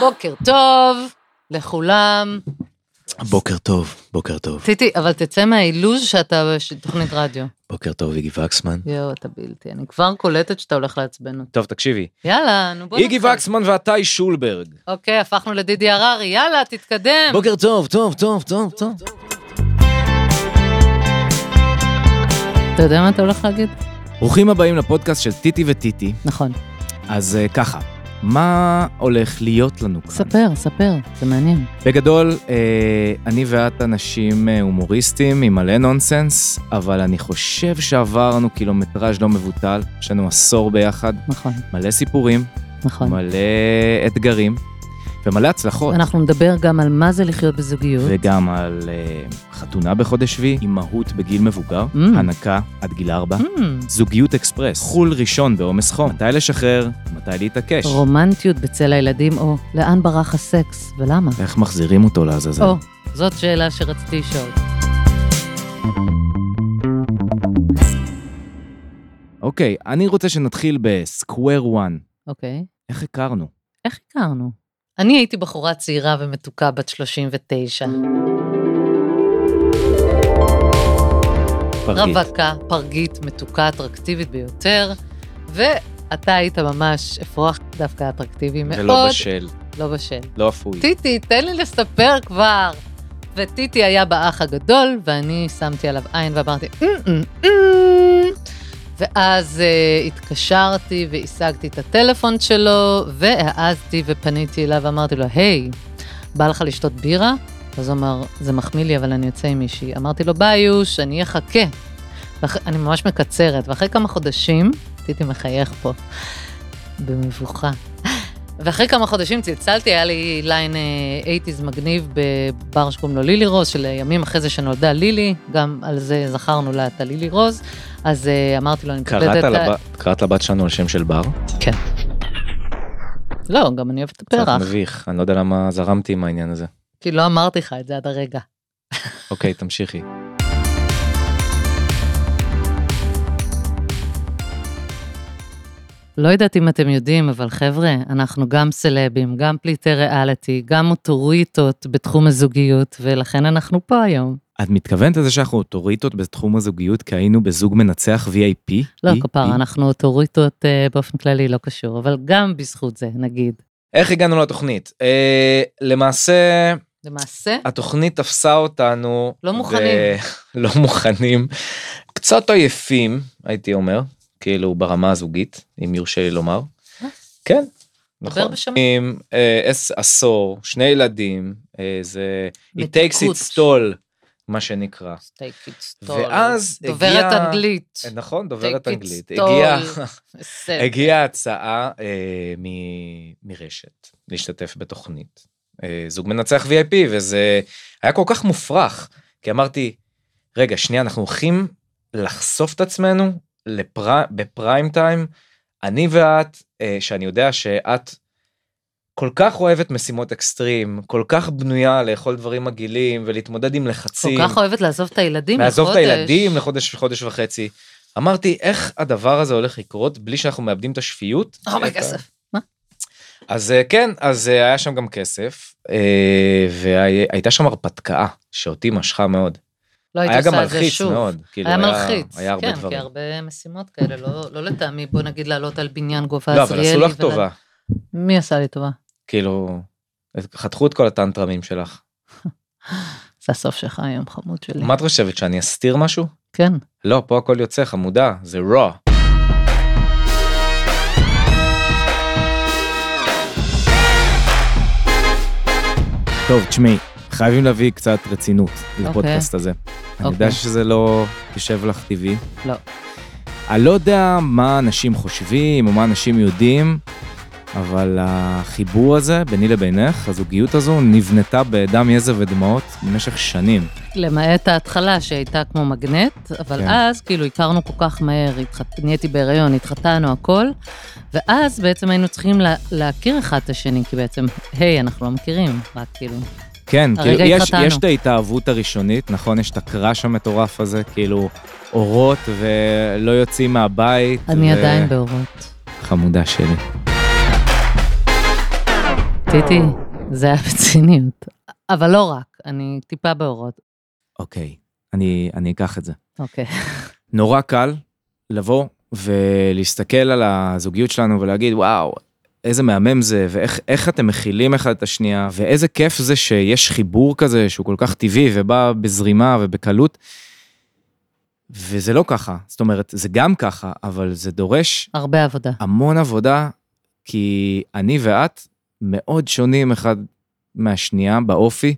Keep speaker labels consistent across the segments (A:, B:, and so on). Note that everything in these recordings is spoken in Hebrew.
A: בוקר טוב לכולם.
B: בוקר טוב, בוקר טוב.
A: טיטי, אבל תצא מהאילוז שאתה בתוכנית רדיו.
B: בוקר טוב, איגי וקסמן.
A: יואו, אתה בלתי. אני כבר קולטת שאתה הולך לעצבן אותי.
C: טוב, תקשיבי.
A: יאללה, נו בוא
C: איגי
A: נתחיל.
C: וקסמן ועתאי שולברג.
A: אוקיי, הפכנו לדידי הררי, יאללה, תתקדם.
B: בוקר טוב, טוב, טוב, טוב, טוב.
A: אתה יודע מה אתה הולך להגיד?
C: ברוכים הבאים לפודקאסט של טיטי וטיטי.
A: נכון.
C: אז אה, ככה, מה הולך להיות לנו כאן?
A: ספר, ספר, זה מעניין.
C: בגדול, אה, אני ואת אנשים אה, הומוריסטים עם מלא נונסנס, אבל אני חושב שעברנו קילומטראז' לא מבוטל, יש לנו עשור ביחד,
A: נכון,
C: מלא סיפורים,
A: נכון.
C: מלא אתגרים ומלא הצלחות.
A: אנחנו נדבר גם על מה זה לחיות בזוגיות.
C: וגם על אה, חתונה בחודש שביעי, אימהות בגיל מבוגר,
A: Mm.
C: הנקה עד גיל ארבע.
A: Hmm,
C: זוגיות אקספרס, חול ראשון בעומס חום, מתי לשחרר, מתי להתעקש.
A: רומנטיות בצל הילדים, או לאן ברח הסקס, ולמה?
C: איך מחזירים אותו לעזאזל?
A: או, זאת שאלה שרציתי לשאול.
C: אוקיי, אני רוצה שנתחיל בסקוואר וואן.
A: אוקיי.
C: איך הכרנו?
A: איך הכרנו? אני הייתי בחורה צעירה ומתוקה בת 39.
C: פרגית.
A: רווקה, פרגית, מתוקה, אטרקטיבית ביותר, ואתה היית ממש אפרוח דווקא אטרקטיבי מאוד.
C: ולא בשל,
A: לא בשל.
C: לא אפוי.
A: טיטי, תן לי לספר כבר. וטיטי היה באח הגדול, ואני שמתי עליו עין ואמרתי, "אמ, אמ, אמ." ואז uh, התקשרתי והשגתי את הטלפון שלו, והעזתי ופניתי אליו ואמרתי לו, היי, בא לך לשתות בירה? אז הוא אמר, זה מחמיא לי, אבל אני יוצא עם מישהי. אמרתי לו, ביוש, אני אחכה. ואח... אני ממש מקצרת, ואחרי כמה חודשים, טיטי מחייך פה, במבוכה. ואחרי כמה חודשים צלצלתי, היה לי ליין אה, 80's מגניב בבר שקוראים לו לילי רוז, של ימים אחרי זה שנולדה לילי, גם על זה זכרנו לה את הלילי רוז, אז אה, אמרתי לו, אני
B: קראת לבת- קראת לבת שלנו על שם של בר?
A: לא, גם אני אוהבת את
C: קצת
A: הפרח,
C: מביך, אני לא יודע למה זרמתי עם העניין הזה.
A: כי לא אמרתי לך את זה עד הרגע.
C: אוקיי, תמשיכי.
A: לא יודעת אם אתם יודעים, אבל חבר'ה, אנחנו גם סלבים, גם פליטי ריאליטי, גם אוטוריטות בתחום הזוגיות, ולכן אנחנו פה היום.
C: את מתכוונת לזה שאנחנו אוטוריטות בתחום הזוגיות כי היינו בזוג מנצח VIP?
A: לא,
C: אי-
A: כפרה,
C: אי-
A: אנחנו אוטוריטות אה, באופן כללי, לא קשור, אבל גם בזכות זה, נגיד.
C: איך הגענו לתוכנית? אה, למעשה,
A: למעשה,
C: אה, התוכנית תפסה אותנו.
A: לא
C: ב-
A: מוכנים.
C: לא מוכנים. קצת עייפים, הייתי אומר, כאילו ברמה הזוגית, אם יורשה לי לומר.
A: מה?
C: כן,
A: אה. דבר
C: נכון.
A: בשם.
C: עם אה, עש- עשור, שני ילדים, אה, זה... It takes
A: מתיקות.
C: its toll, מה שנקרא.
A: Take it tall.
C: ואז הגיע...
A: דוברת אנגלית.
C: אה, נכון, דוברת
A: Take it
C: אנגלית.
A: tall.
C: הגיעה
A: בסדר.
C: הגיעה הצעה אה, מ- מרשת להשתתף בתוכנית. אה, זוג מנצח VIP, וזה היה כל כך מופרך, כי אמרתי, רגע, שנייה, אנחנו הולכים לחשוף את עצמנו לפר... בפריים טיים, אני ואת, אה, שאני יודע שאת כל כך אוהבת משימות אקסטרים, כל כך בנויה לאכול דברים מגעילים ולהתמודד עם
A: כל
C: לחצים.
A: כך אוהבת לעזוב את הילדים לחודש.
C: לעזוב את הילדים לחודש חודש וחצי. אמרתי איך הדבר הזה הולך לקרות בלי שאנחנו מאבדים את השפיות.
A: אומי
C: את ה-
A: כסף.
C: אז אה, כן אז אה, היה שם גם כסף אה, והייתה שם הרפתקה שאותי משכה מאוד.
A: לא הייתי
C: היה גם
A: עושה את זה
C: מלחיץ
A: שוב.
C: מאוד. כאילו,
A: היה מלחיץ,
C: היה הרבה
A: כן, כי
C: דברים.
A: הרבה משימות כאלה, לא- לא לטעמי, בוא נגיד לעלות על בניין גובה
C: לא
A: עזריאלי.
C: אבל עשו לך
A: ולה-
C: טובה
A: מי עשה לי טובה?
C: כאילו חתכו את כל הטנטרמים שלך.
A: זה הסוף שלך היום, חמוד שלי.
C: מה את חושבת שאני אסתיר משהו?
A: כן.
C: לא פה הכל יוצא חמודה זה raw.
D: טוב, תשמעי, חייבים להביא קצת רצינות לפודקאסט הזה. אני
A: אוקיי.
D: יודע שזה לא יושב לך טבעי.
A: לא.
D: אני לא יודע מה אנשים חושבים או מה אנשים יודעים, אבל החיבור הזה ביני לבינך, הזוגיות הזו, נבנתה בדם, יזע ודמעות במשך שנים.
A: למעט ההתחלה שהייתה כמו מגנט, אבל כן.
D: כן.
A: אז כאילו הכרנו כל כך מהר, התחת... נהייתי בהיריון, התחתנו, הכל, ואז בעצם היינו צריכים לה... להכיר אחד את השני, כי בעצם, היי, אנחנו לא מכירים, רק כאילו,
D: כן,
A: הרגע
D: כאילו, יש,
A: התחתנו.
D: יש את ההתאהבות הראשונית, נכון? יש את הקראש המטורף הזה, כאילו, אורות ולא יוצאים מהבית.
A: אני
D: ו-
A: עדיין באורות.
D: חמודה שלי.
A: טיטי, זה היה בציניות. אבל לא רק, אני טיפה באורות.
C: אוקיי, אני, אני אקח את זה.
A: אוקיי.
C: נורא קל לבוא ולהסתכל על הזוגיות שלנו ולהגיד, וואו, איזה מהמם זה, ואיך איך אתם מכילים אחד את השנייה, ואיזה כיף זה שיש חיבור כזה שהוא כל כך טבעי ובא בזרימה ובקלות. וזה לא ככה, זאת אומרת, זה גם ככה, אבל זה דורש
A: הרבה עבודה.
C: המון עבודה, כי אני ואת מאוד שונים אחד מהשנייה באופי.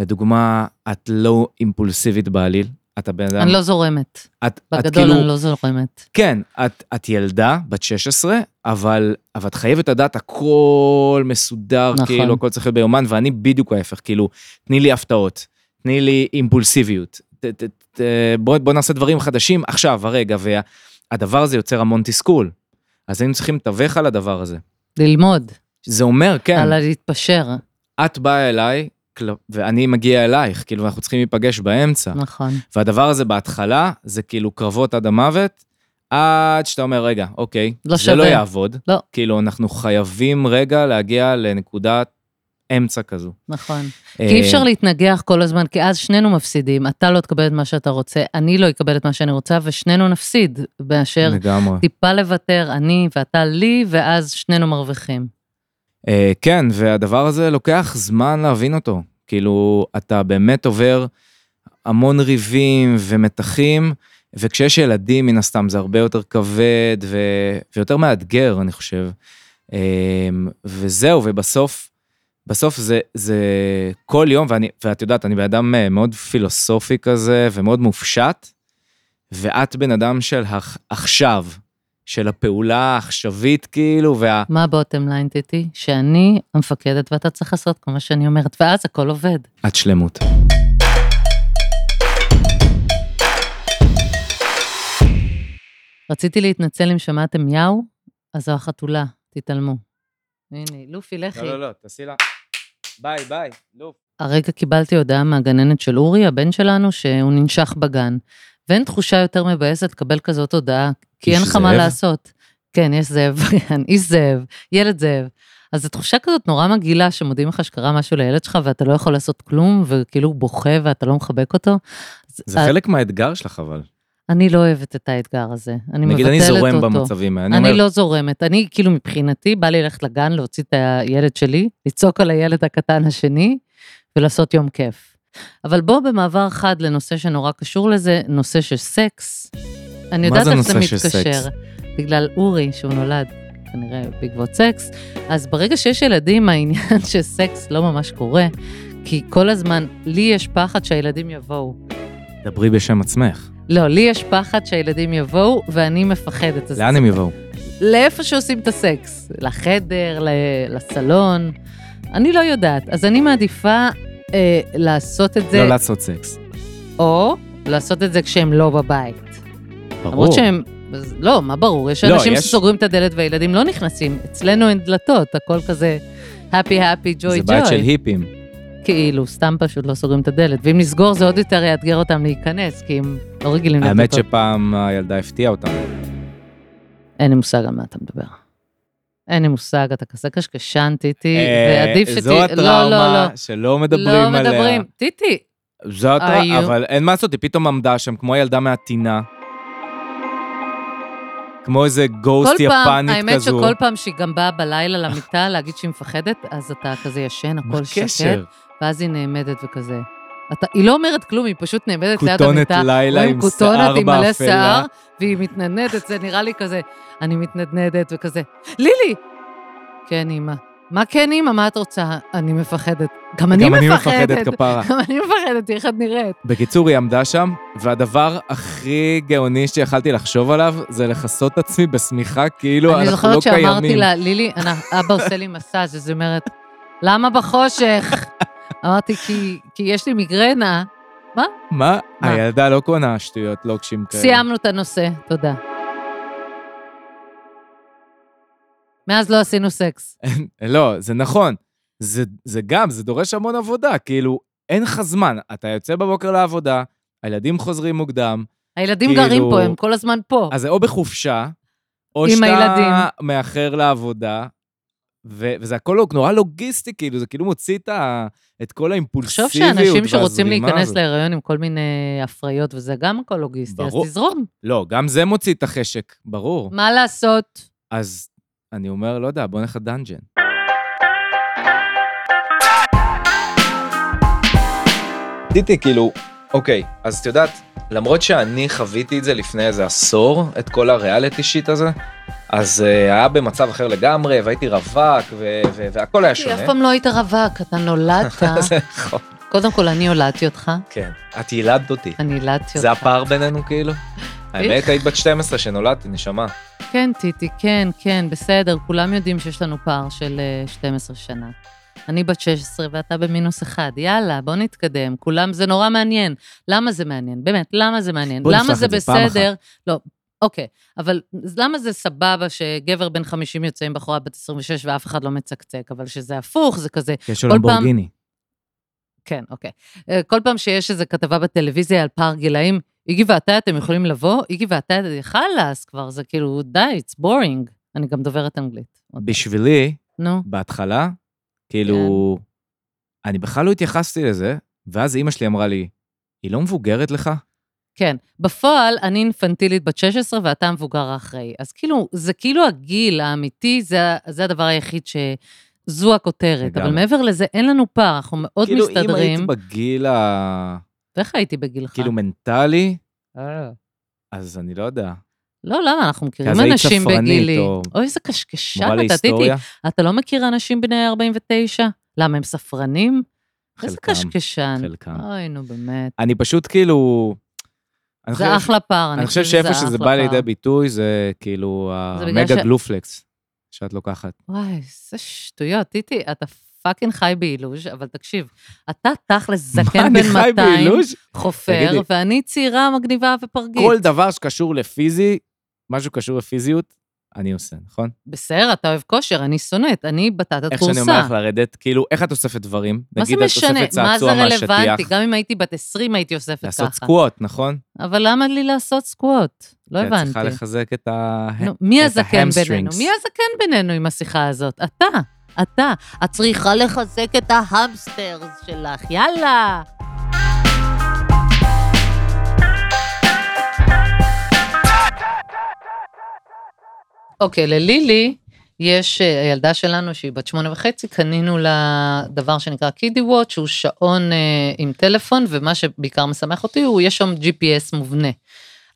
C: לדוגמה, את לא אימפולסיבית בעליל, את הבן אדם.
A: אני לא זורמת.
C: את, את
A: בגדול
C: כאילו,
A: אני לא זורמת.
C: כן, את, את ילדה, בת 16, אבל, אבל את חייבת לדעת הכל מסודר,
A: נכון.
C: נכון. כאילו, הכל צריך להיות ביומן, ואני בדיוק ההפך, כאילו, תני לי הפתעות, תני לי אימפולסיביות, ת, ת, ת, בוא, בוא נעשה דברים חדשים עכשיו, הרגע, והדבר הזה יוצר המון תסכול. אז היינו צריכים לתווך על הדבר הזה.
A: ללמוד,
C: זה אומר, כן.
A: על להתפשר.
C: את באה אליי, כל- ואני מגיע אלייך, כאילו, אנחנו צריכים להיפגש באמצע.
A: נכון.
C: והדבר הזה בהתחלה, זה כאילו קרבות עד המוות, עד שאתה אומר, רגע, אוקיי,
A: לא
C: זה
A: שווה."
C: לא יעבוד.
A: לא.
C: כאילו, אנחנו חייבים רגע להגיע לנקודת אמצע כזו. אה,
A: נכון. כי אי אפשר להתנגח כל הזמן, כי אז שנינו מפסידים. אתה לא תקבל את מה שאתה רוצה, אני לא אקבל את מה שאני רוצה, ושנינו נפסיד, מאשר
C: לגמרי.
A: טיפה לוותר, אני ואתה לי, ואז שנינו מרוויחים.
C: אה, כן, והדבר הזה לוקח זמן להבין אותו. כאילו, אתה באמת עובר המון ריבים ומתחים, וכשיש ילדים, מן הסתם, זה הרבה יותר כבד ו... ויותר מאתגר, אני חושב. אה, וזהו, ובסוף, בסוף זה, זה כל יום, ואני, ואת יודעת, אני בן אדם אה, מאוד פילוסופי כזה ומאוד מופשט, ואת בן אדם של הח- עכשיו, של הפעולה העכשווית, כאילו, וה...
A: מה הבוטם ליין, טיטי? שאני המפקדת ואתה צריך לעשות כל מה שאני אומרת, ואז הכל עובד.
C: את שלמות.
A: רציתי להתנצל אם שמעתם יאו, אז זו החתולה, תתעלמו. הנה, לופי, לכי.
C: לא, לא, לא, תעשי לה. ביי, ביי, לופ.
A: הרגע קיבלתי הודעה מהגננת של אורי, הבן שלנו, שהוא ננשך בגן. ואין תחושה יותר מבאסת לקבל כזאת הודעה, כי
C: איש
A: אין לך מה
C: זאב?
A: לעשות. כן, יש זאב, כן, איש זאב, ילד זאב. אז זו תחושה כזאת נורא מגעילה, שמודיעים לך שקרה משהו לילד שלך ואתה לא יכול לעשות כלום, וכאילו הוא בוכה ואתה לא מחבק אותו. אז
C: זה
A: א-
C: חלק מהאתגר שלך, אבל.
A: אני לא אוהבת את האתגר הזה. אני מבטלת
C: נגיד,
A: אותו.
C: אני זורם במצבים האלה.
A: אני
C: אומר,
A: לא זורמת. אני, כאילו, מבחינתי, בא לי ללכת לגן, להוציא את הילד שלי, לצעוק על הילד הקטן השני, ולעשות יום כיף. אבל בואו במעבר חד לנושא שנורא קשור לזה, נושא של סקס. אני
C: מה
A: יודעת
C: זה
A: איך זה
C: נושא של
A: מתקשר.
C: סקס?
A: בגלל אורי, שהוא נולד כנראה בעקבות סקס, אז ברגע שיש ילדים, העניין שסקס לא ממש קורה, כי כל הזמן, לי יש פחד שהילדים יבואו.
C: דברי בשם עצמך.
A: לא, לי יש פחד שהילדים יבואו, ואני מפחדת. אז
C: לאן הם יבואו?
A: לאיפה שעושים את הסקס, לחדר, ל- לסלון, אני לא יודעת. אז אני מעדיפה אה, לעשות את זה,
C: לא לעשות סקס.
A: או לעשות את זה כשהם לא בבית. למרות
C: ברור.
A: שהם, אז לא, מה ברור, יש
C: לא,
A: אנשים
C: יש-
A: שסוגרים את הדלת והילדים לא נכנסים, אצלנו אין דלתות, הכל כזה הפי הפי ג'וי
C: זה בית של
A: ג'וי.
C: היפים.
A: כאילו, סתם פשוט לא סוגרים את הדלת, ואם נסגור זה עוד יותר יאתגר אותם להיכנס, כי הם לא רגילים
C: האמת
A: לדלתות.
C: שפעם הילדה הפתיעה
A: אה,
C: אותנו.
A: אין לי מושג על מה אתה מדבר. אין לי מושג, אתה כזה קשקשן, טיטי,
C: אה,
A: ועדיף שת...
C: זו
A: לא, לא, לא.
C: הטראומה שלא
A: לא
C: מדברים עליה.
A: מדברים. טיטי,
C: זו הטראומה,
A: היו.
C: אבל אין מה לעשות, היא פתאום עמדה שם כמו ילדה מהטינה. כמו איזה
A: כל
C: גוסט
A: פעם,
C: יפנית
A: האמת
C: כזו.
A: שכל פעם שהיא גם באה בלילה למיטה להגיד שהיא מפחדת, אז אתה כזה ישן,
C: מה
A: הכל שקט,
C: הקשר?
A: ואז היא נעמדת וכזה. אתה, היא לא אומרת כלום, היא פשוט נעמדת ליד
C: כותונת
A: המיטה.
C: לילה
A: רואים
C: עם
A: כותונת
C: שיער
A: עם מלא
C: באפלה.
A: שיער, והיא מתנדנדת, זה נראה לי כזה, אני מתנדנדת וכזה, לילי! כן, אמא. מה כן, אמא? מה את רוצה? אני מפחדת. גם אני
C: גם אני
A: מפחדת.
C: מפחדת כפרה.
A: גם אני מפחדת, איך את נראית.
C: בקיצור, היא עמדה שם, והדבר הכי גאוני שיכלתי לחשוב עליו, זה לכסות את עצמי בשמיכה, כאילו
A: אני
C: אנחנו לא
A: זוכרת
C: קיימים.
A: שאמרתי לה, לילי, אנ- אבא עושה לי מסאז', אז היא אומרת, למה בחושך? אמרתי, "כי- כי יש לי מיגרנה.
C: מה?
A: מה?
C: הילדה לא קונה שטויות לוקשים כאלה.
A: סיימנו את הנושא, תודה. מאז לא עשינו סקס.
C: לא, זה נכון. זה, זה גם, זה דורש המון עבודה, כאילו, אין לך זמן. אתה יוצא בבוקר לעבודה, הילדים חוזרים מוקדם,
A: הילדים
C: כאילו-
A: גרים פה, הם כל הזמן פה.
C: אז זה או בחופשה, או
A: עם
C: שאתה
A: הילדים.
C: מאחר לעבודה, ו- וזה הכל לא- נורא לוגיסטי, כאילו, זה כאילו מוציא את, ה- את כל
A: תחשוב
C: האימפולסיביות
A: שאנשים שרוצים
C: והזרימה
A: להיכנס
C: הזאת.
A: להיריון עם כל מיני הפריות, וזה גם הכל לוגיסטי, אז
C: ברור.
A: תזרום.
C: לא, גם זה מוציא את החשק, ברור.
A: מה לעשות?
C: אז אני אומר, לא יודע, בוא נלך לדאנג'ן.
E: דיטי, כאילו, אוקיי, אז את יודעת, למרות שאני חוויתי את זה לפני איזה עשור, את כל הריאליטי שיט הזה, אז uh, היה במצב אחר לגמרי, והייתי רווק, ו- ו- והכל היה
A: כי
E: שונה.
A: אף פעם לא היית רווק, אתה נולדת.
E: זה נכון.
A: קודם כל, אני הולדתי אותך,
E: כן. את ילדת אותי.
A: אני הילדתי אותך.
E: זה הפער בינינו, כאילו? האמת, היית בת 12 שנולדתי, נשמה.
A: כן, טיטי, כן, כן, בסדר, כולם יודעים שיש לנו פער של אה, 12 שנה. אני בת 16 ואתה במינוס אחד, יאללה, בוא נתקדם. כולם, זה נורא מעניין. למה זה מעניין? באמת, למה זה מעניין?
C: בוא
A: למה
C: נפתח
A: זה
C: את זה פעם
A: בסדר? לא, אוקיי, אבל אז למה זה סבבה שגבר בן 50 יוצא עם בחורה בת 26 ואף אחד לא מצקצק, אבל שזה הפוך, זה כזה,
C: יש לו
A: כל פעם-
C: למבורגיני.
A: כן, אוקיי. אה, כל פעם שיש איזו כתבה בטלוויזיה על פער גילאים, איגי ואתה, אתם יכולים לבוא? איגי ואתה, חלאס כבר, זה כאילו, די, it's boring. אני גם דוברת אנגלית. עוד-
C: בשבילי,
A: נו,
C: בהתחלה, כאילו,
A: כן.
C: אני בכלל לא התייחסתי לזה, ואז אימא שלי אמרה לי, היא לא מבוגרת לך?
A: כן. בפועל, אני אינפנטילית בת 16 ואתה המבוגר האחראי. אז כאילו, זה כאילו הגיל האמיתי, זה, זה הדבר היחיד ש... זו הכותרת, אבל
C: לגמרי.
A: מעבר לזה, אין לנו פער, אנחנו מאוד
C: כאילו, אם
A: מסתדרים. נכון.
C: היית בגיל ה...
A: ואיך הייתי בגילך?
C: כאילו מנטלי,
A: אה.
C: אז אני לא יודע.
A: לא, למה? אנחנו מכירים
C: אז היית
A: אנשים
C: ספרנית
A: בגילי.
C: או-
A: אוי, איזה קשקשן
C: מורה
A: אתה, טיטי.
C: להיסטוריה,
A: אתה לא מכיר אנשים בני 49? למה, הם ספרנים? איזה
C: חלקם,
A: קשקשן.
C: חלקם.
A: אוי, נו, באמת.
C: אני פשוט כאילו... אני
A: זה
C: חושב-
A: אחלה פער,
C: אני חושב
A: שזה
C: שאיפה שזה
A: אחלה
C: בא
A: פער.
C: לידי ביטוי זה כאילו
A: זה בגלל
C: המגה
A: ש-
C: גלופלקס שאת לוקחת.
A: וואי, איזה שטויות, טיטי, אתה פאקינג חי באילוז', אבל תקשיב, אתה תכלס
C: מה,
A: זקן
C: אני
A: כן בן
C: חי
A: 200,
C: באילוז'?
A: חופר,
C: תגידי.
A: ואני צעירה, מגניבה ופרגית.
C: כל דבר שקשור לפיזי, משהו קשור לפיזיות, אני עושה, נכון?
A: בסדר, אתה אוהב כושר, אני שונאת, אני בטטת
C: איך שאני אומר
A: כורסה.
C: לך לרדת, כאילו, איך את אוספת דברים?
A: מה זה
C: נגיד, את
A: משנה?
C: אוספת
A: מה זה
C: צעצוע
A: רלוונטי?
C: מהשטיח,
A: גם אם הייתי בת 20 הייתי אוספת
C: לעשות
A: ככה.
C: סקוואט, נכון?
A: אבל למה לי לעשות סקווט? לא
C: כי את
A: הבנתי.
C: כן, צריכה לחזק את ה...
A: נו, מי
C: את
A: הזקן
C: ה-hamstrings.
A: בינינו? מי הזקן בינינו עם השיחה הזאת? אתה, אתה. את צריכה לחזק את ההמסטרס שלך, יאללה. אוקיי, ללילי יש, אה, הילדה שלנו שהיא בת שמונה וחצי, קנינו לה דבר שנקרא קידי וואט, שהוא שעון אה, עם טלפון, ומה שבעיקר משמח אותי הוא, יש שם GPS מובנה.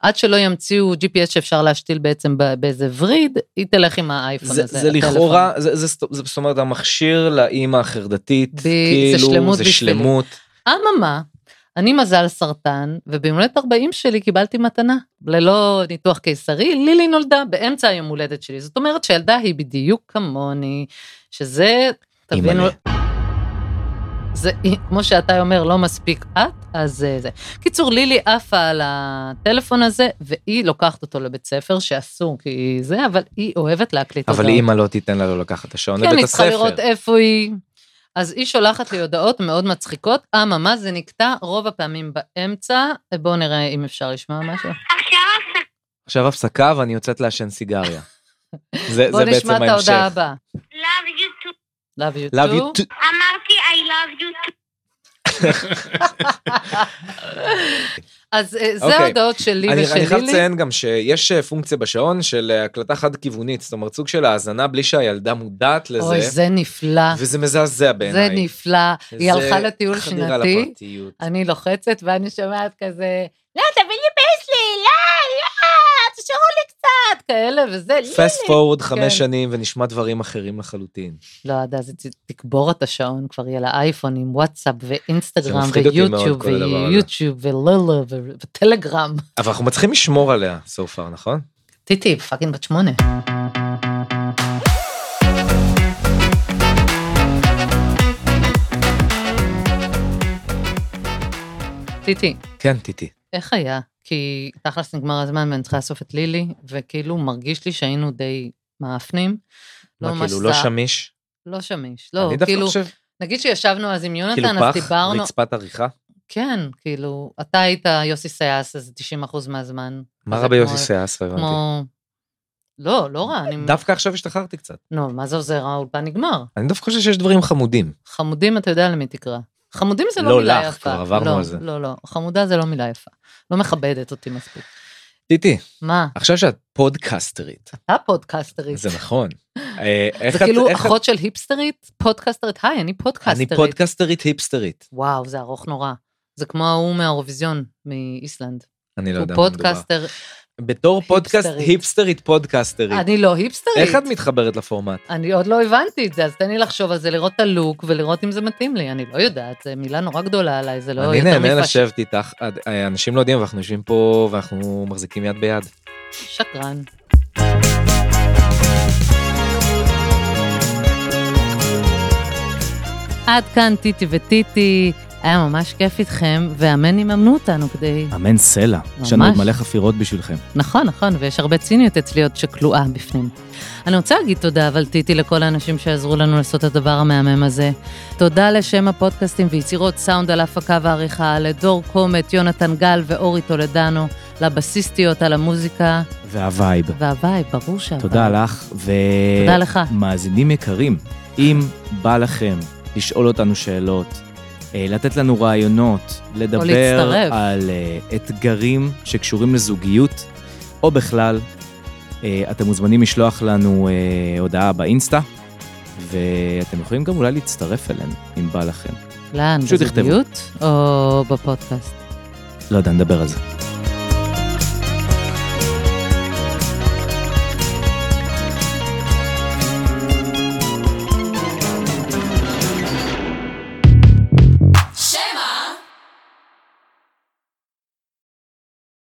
A: עד שלא ימציאו GPS שאפשר להשתיל בעצם ב- באיזה וריד, היא תלך עם האייפון
E: זה,
A: הזה.
E: זה
A: הטלפון.
E: לכאורה, זה, זה, זה, זאת אומרת, המכשיר לאימא החרדתית,
A: ב- זה
E: כאילו,
A: שלמות
E: זה
A: בשבילי.
E: שלמות.
A: אממה, אני מזל סרטן, וביומולדת 40 שלי קיבלתי מתנה. ללא ניתוח קיסרי, לילי נולדה באמצע היום הולדת שלי. זאת אומרת שהילדה היא בדיוק כמוני, שזה, תבינו...
B: אימא'לה.
A: זה, כמו שאתה אומר, לא מספיק את, אז אה, זה. קיצור, לילי עפה על הטלפון הזה, והיא לוקחת אותו לבית ספר, שאסור כי זה, אבל היא אוהבת להקליט
E: אבל
A: הודעות.
E: אימא לא תיתן לה לא לקחת את השעון
A: כן,
E: לבית
A: היא צריכה
E: הספר.
A: לראות איפה היא. אז היא שולחת לי הודעות מאוד מצחיקות, אממה זה נקטע רוב הפעמים באמצע, בואו נראה אם אפשר לשמוע משהו.
E: עכשיו הפסקה ואני יוצאת לעשן סיגריה. זה,
A: בואו
E: זה
A: נשמע
E: בעצם
A: את ההודעה
E: ההמשך.
A: הבאה.
F: Love you too.
A: Love you
E: Love
A: too.
E: you too.
F: אמרתי I love you too.
A: אז אה, זה
E: אוקיי.
A: ההודעות שלי
E: אני, אני
A: ושל
E: חייב
A: לילי.
E: לציין גם שיש אה, פונקציה בשעון של אה, הקלטה חד-כיוונית, זאת אומרת סוג של האזנה בלי שהילדה מודעת לזה,
A: אוי, זה נפלא.
E: וזה מזעזע
A: זה
E: בעיניי.
A: נפלא.
E: זה
A: היא הלכה לטיול
E: חדירה
A: שנתי,
E: לפרטיות.
A: אני לוחצת ואני שומעת כזה, לא, תביא לי פייסלי, לא, לא, תשארו לי קצת, כאלה וזה. לא,
E: פסט פורוד חמש
A: כן.
E: שנים ונשמע דברים אחרים לחלוטין.
A: לא, עד אז היא ת- תקבור את השעון, כבר יהיה לה אייפון עם וואטסאפ ואינסטגרם
E: זה מפחיד אותי מאוד,
A: ויוטיוב
E: כל הדבר הזה.
A: ויוטיוב ולולה ו- וטלגרם.
E: אבל אנחנו מצליחים לשמור עליה so far, נכון?
A: טיטי, היא פאקינג בת שמונה. טיטי,
E: כן, טיטי.
A: איך היה? כי תכלס נגמר הזמן ואני צריכה לאסוף את לילי, וכאילו מרגיש לי שהיינו די מאפנים.
E: מה,
A: ממש
E: כאילו, לא
A: זה-
E: שמיש?
A: לא שמיש, לא,
E: אני דווקא
A: כאילו,
E: חושב,
A: נגיד שישבנו אז עם
E: כאילו
A: יונתן, אז
E: פח,
A: דיברנו,
E: רצפת עריכה.
A: כן, כאילו, אתה היית יוסי סייס, אז 90 אחוז מהזמן.
E: מה
A: זה
E: רע
A: כמו-
E: ביוסי סייס? לא הבנתי.
A: כמו לא, לא רע, אני...
E: דווקא עכשיו השתחררתי קצת.
A: נו, מה זה עוזר? האולפן נגמר.
E: אני דווקא חושב שיש דברים חמודים.
A: חמודים, אתה יודע למי תקרא. חמודים זה לא,
E: לא
A: מילה
E: לך,
A: יפה.
E: כבר עברנו
A: לא,
E: על זה.
A: לא, לא, חמודה זה לא מילה יפה. לא מכבדת אותי מספיק.
E: טיטי,
A: מה?
E: עכשיו שאת פודקסטרית,
A: אתה פודקסטרית.
E: זה נכון. אה, איך
A: זה
E: את...
A: כאילו
E: איך את-
A: אחות של היפסטרית? פודקסטרית? היי, אני פודקסטרית.
E: אני פודקסטרית היפסטרית.
A: וואו, זה ארוך נורא. זה כמו ההוא מהאירוויזיון מאיסלנד.
E: אני לא
A: הוא
E: יודע מה מדובר.
A: פודקסטר.
E: בתור פודקאסט
A: היפסטרית.
E: היפסטרית פודקסטרית.
A: אני לא היפסטרית.
E: איך את מתחברת לפורמט?
A: אני עוד לא הבנתי את זה, אז תן לי לחשוב על זה, לראות את הלוק ולראות אם זה מתאים לי. אני לא יודעת, זו מילה נורא גדולה עליי, זה לא
E: אני
A: יותר
E: נהנה
A: מפש-
E: לשבת איתך, עד- אה, אנשים לא יודעים, אבל אנחנו יושבים פה ואנחנו מחזיקים יד ביד.
A: שקרן. עד כאן טיטי וטיטי, היה ממש כיף איתכם, ואמן יממנו אותנו כדי...
C: אמן סלע. יש לנו
A: ממש.
C: עוד מלא חפירות בשבילכם.
A: נכון, נכון, ויש הרבה ציניות אצלי עוד שכלואה בפנים. אני רוצה להגיד תודה, אבל טיטי, לכל האנשים שעזרו לנו לעשות את הדבר המהמם הזה. תודה לשם הפודקאסטים ויצירות סאונד על ההפקה והעריכה, לדור קומט, יונתן גל ואורי טולדנו, לבסיסטיות על המוזיקה,
C: והווייב.
A: והוואי, ברור שהוואי.
C: תודה לך, ו...
A: תודה לך.
C: מאזינים יקרים, אם בא לכם לשאול אותנו שאלות, אה, לתת לנו רעיונות, לדבר
A: להצטרף.
C: על אה, אתגרים שקשורים לזוגיות, או בכלל, אה, אתם מוזמנים לשלוח לנו אה, הודעה באינסטה, ואתם יכולים גם אולי להצטרף אלינו, אם בא לכם.
A: לאן?
C: פשוט תכתבו.
A: בזוגיות או בפודקאסט?
C: לא יודע, נדבר על זה.